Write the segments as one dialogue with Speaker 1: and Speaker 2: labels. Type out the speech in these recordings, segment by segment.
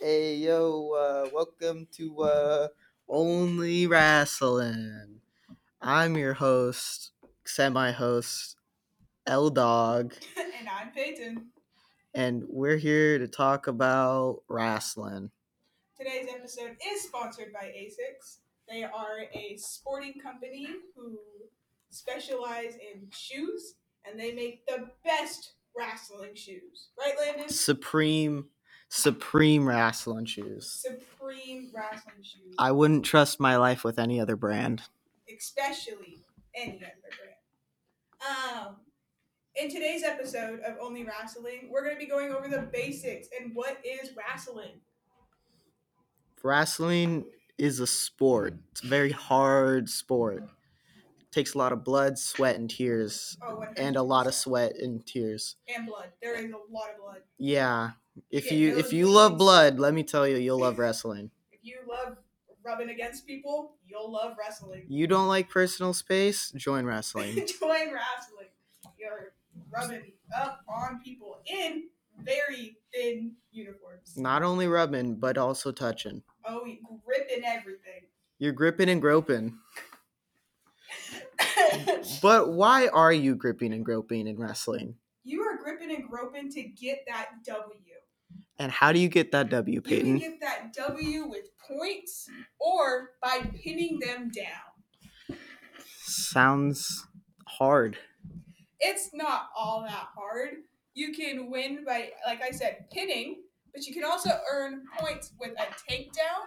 Speaker 1: Hey yo, uh, welcome to uh, Only Wrestling. I'm your host, semi-host L Dog,
Speaker 2: and I'm Peyton.
Speaker 1: and we're here to talk about wrestling.
Speaker 2: Today's episode is sponsored by ASICS. They are a sporting company who specialize in shoes, and they make the best wrestling shoes. Right, Landon?
Speaker 1: Supreme, supreme wrestling shoes.
Speaker 2: Supreme wrestling shoes,
Speaker 1: I wouldn't trust my life with any other brand.
Speaker 2: especially any other brand. Um, in today's episode of Only Wrestling, we're going to be going over the basics and what is wrestling.
Speaker 1: Wrestling is a sport. It's a very hard sport. takes a lot of blood, sweat, and tears,
Speaker 2: Oh, 100
Speaker 1: and a lot of sweat and tears.
Speaker 2: and blood. There is a lot of blood.
Speaker 1: Yeah. If
Speaker 2: Yeah,
Speaker 1: you
Speaker 2: those
Speaker 1: if you love
Speaker 2: dudes-
Speaker 1: blood, let me tell you, you'll love wrestling.
Speaker 2: If you love rubbing against people, you'll love wrestling.
Speaker 1: You don't like personal space? Join wrestling.
Speaker 2: Join wrestling. You're rubbing up on people in very thin uniforms.
Speaker 1: Not only rubbing, but also touching.
Speaker 2: Oh, you gripping everything.
Speaker 1: You're gripping and groping. But why are you gripping and groping in wrestling?
Speaker 2: you are gripping and groping to get that W.
Speaker 1: And how do you get that W,
Speaker 2: You can
Speaker 1: Peyton?
Speaker 2: get that W with points or by pinning them down.
Speaker 1: Sounds hard.
Speaker 2: it's not all that hard. You can win by, like I said, pinning, but you can also earn points with a takedown,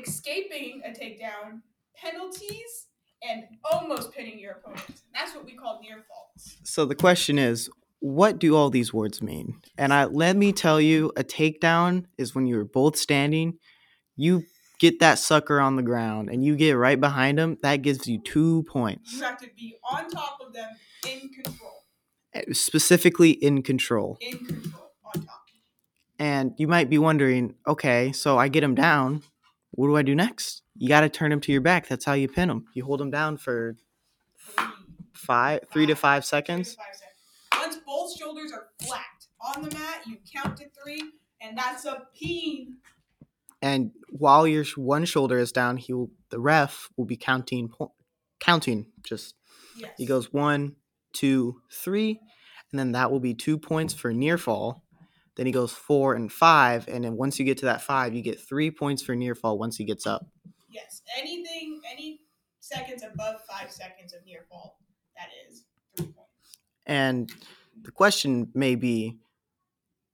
Speaker 2: escaping a takedown, penalties, and almost pinning your opponent. That's what we call near falls.
Speaker 1: So the question is, what do all these words mean? And I let me tell you, a takedown is when you're both standing, you get that sucker on the ground and you get right behind him, that gives you 2
Speaker 2: You
Speaker 1: points.
Speaker 2: have to be on top of them, in control,
Speaker 1: eh, Specifically in control.
Speaker 2: in control, on top.
Speaker 1: And you might be wondering, okay, so I get him down, what do I do next? You got to turn him to your back. That's how you pin him. You hold him down for
Speaker 2: Three,
Speaker 1: five, three to five
Speaker 2: three to
Speaker 1: seconds.
Speaker 2: five seconds. Once both shoulders are flat on the mat, you count to three, and that's a peen.
Speaker 1: and while your sh- one shoulder is down, he will, the ref will be counting, po- counting. Just
Speaker 2: Yes.
Speaker 1: he goes one, two, three, and then that will be two points for near fall. Then he goes four and five, and then once you get to that five, you get three points for near fall once he gets up.
Speaker 2: Yes. Anything, any seconds above five seconds of near fall, that is three points.
Speaker 1: And the question may be,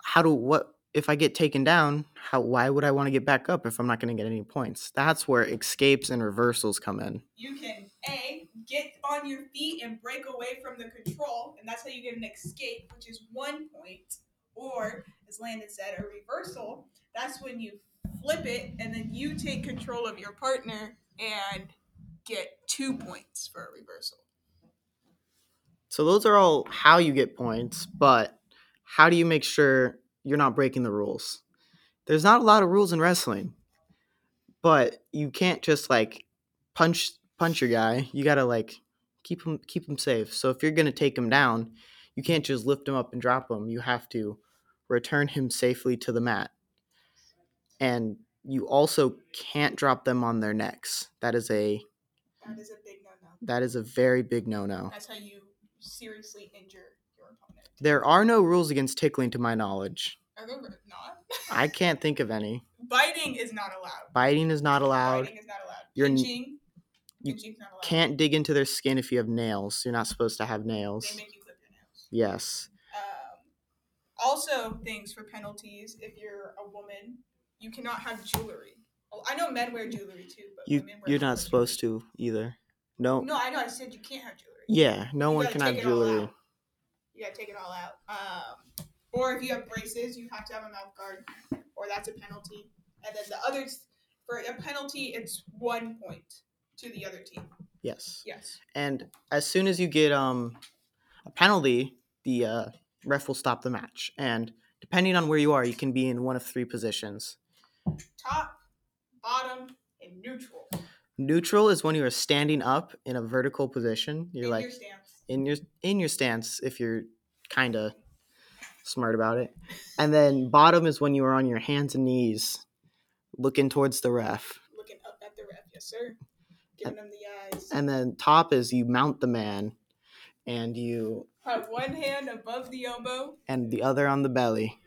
Speaker 1: how do what if I get taken down? How why would I want to get back up if I'm not going to get any points? That's where escapes and reversals come in.
Speaker 2: You can A, get on your feet and break away from the control, and that's how you get an escape, which is one point. Or, as Landon said, a reversal. That's when you flip it and then you take control of your partner and get two points for a reversal.
Speaker 1: So those are all how you get points, but how do you make sure you're not breaking the rules? There's not a lot of rules in wrestling, but you can't just like punch punch your guy. You got to like keep him keep him safe. So if you're going to take him down, you can't just lift him up and drop him. You have to return him safely to the mat. And you also can't drop them on their necks. That is a
Speaker 2: That is a big no no.
Speaker 1: that is a very big no-no.
Speaker 2: That's how you seriously injure your opponent.
Speaker 1: There are no rules against tickling to my knowledge.
Speaker 2: Are there not?
Speaker 1: I can't think of any.
Speaker 2: Biting is not allowed.
Speaker 1: Biting is not allowed.
Speaker 2: Biting is not allowed.
Speaker 1: You're n-
Speaker 2: Pinching.
Speaker 1: you
Speaker 2: Pinching's not allowed.
Speaker 1: Can't dig into their skin if you have nails. You're not supposed to have
Speaker 2: They
Speaker 1: nails.
Speaker 2: make you clip your nails.
Speaker 1: Yes.
Speaker 2: Um, also, things for penalties if you're a woman, you cannot have jewelry. Well, I know men wear jewelry too, but
Speaker 1: You
Speaker 2: women wear
Speaker 1: you're not supposed to either. No.
Speaker 2: No, I know. I said you can't have jewelry.
Speaker 1: Yeah, no
Speaker 2: You
Speaker 1: one
Speaker 2: gotta
Speaker 1: can have
Speaker 2: take it all
Speaker 1: jewelry.
Speaker 2: out. You gotta take it all out. Um, or if you have braces, you have to have a mouth guard, or that's a penalty. And then the others for a penalty, it's one point to the other team.
Speaker 1: Yes.
Speaker 2: Yes.
Speaker 1: And as soon as you get um a penalty, the uh, ref will stop the match. And depending on where you are, you can be in one of three positions.
Speaker 2: Top, bottom, and neutral.
Speaker 1: Neutral is when you are standing up in a vertical position. You're
Speaker 2: in
Speaker 1: like
Speaker 2: your stance.
Speaker 1: in your in your stance if you're kind of smart about it. And then bottom is when you are on your hands and knees looking towards the ref.
Speaker 2: Looking up at the ref, yes, sir. Giving him the eyes.
Speaker 1: And then top is you mount the man and you
Speaker 2: Have one hand above the elbow,
Speaker 1: and the other on the belly,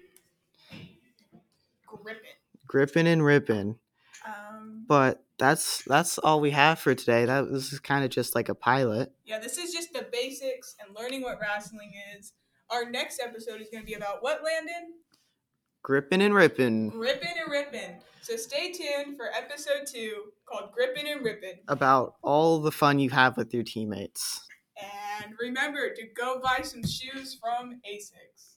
Speaker 2: grip it.
Speaker 1: gripping and ripping.
Speaker 2: Um,
Speaker 1: But that's that's all we have for today. That this is kind of just like a pilot.
Speaker 2: yeah, this is just the basics and learning what wrestling is. Our next episode is going to be about what, Landon?
Speaker 1: Gripping and ripping
Speaker 2: Grippin' and rippin'. So stay tuned for episode two called Grippin' and Rippin'.
Speaker 1: about all the fun you have with your teammates.
Speaker 2: And remember to go buy some shoes from ASICS.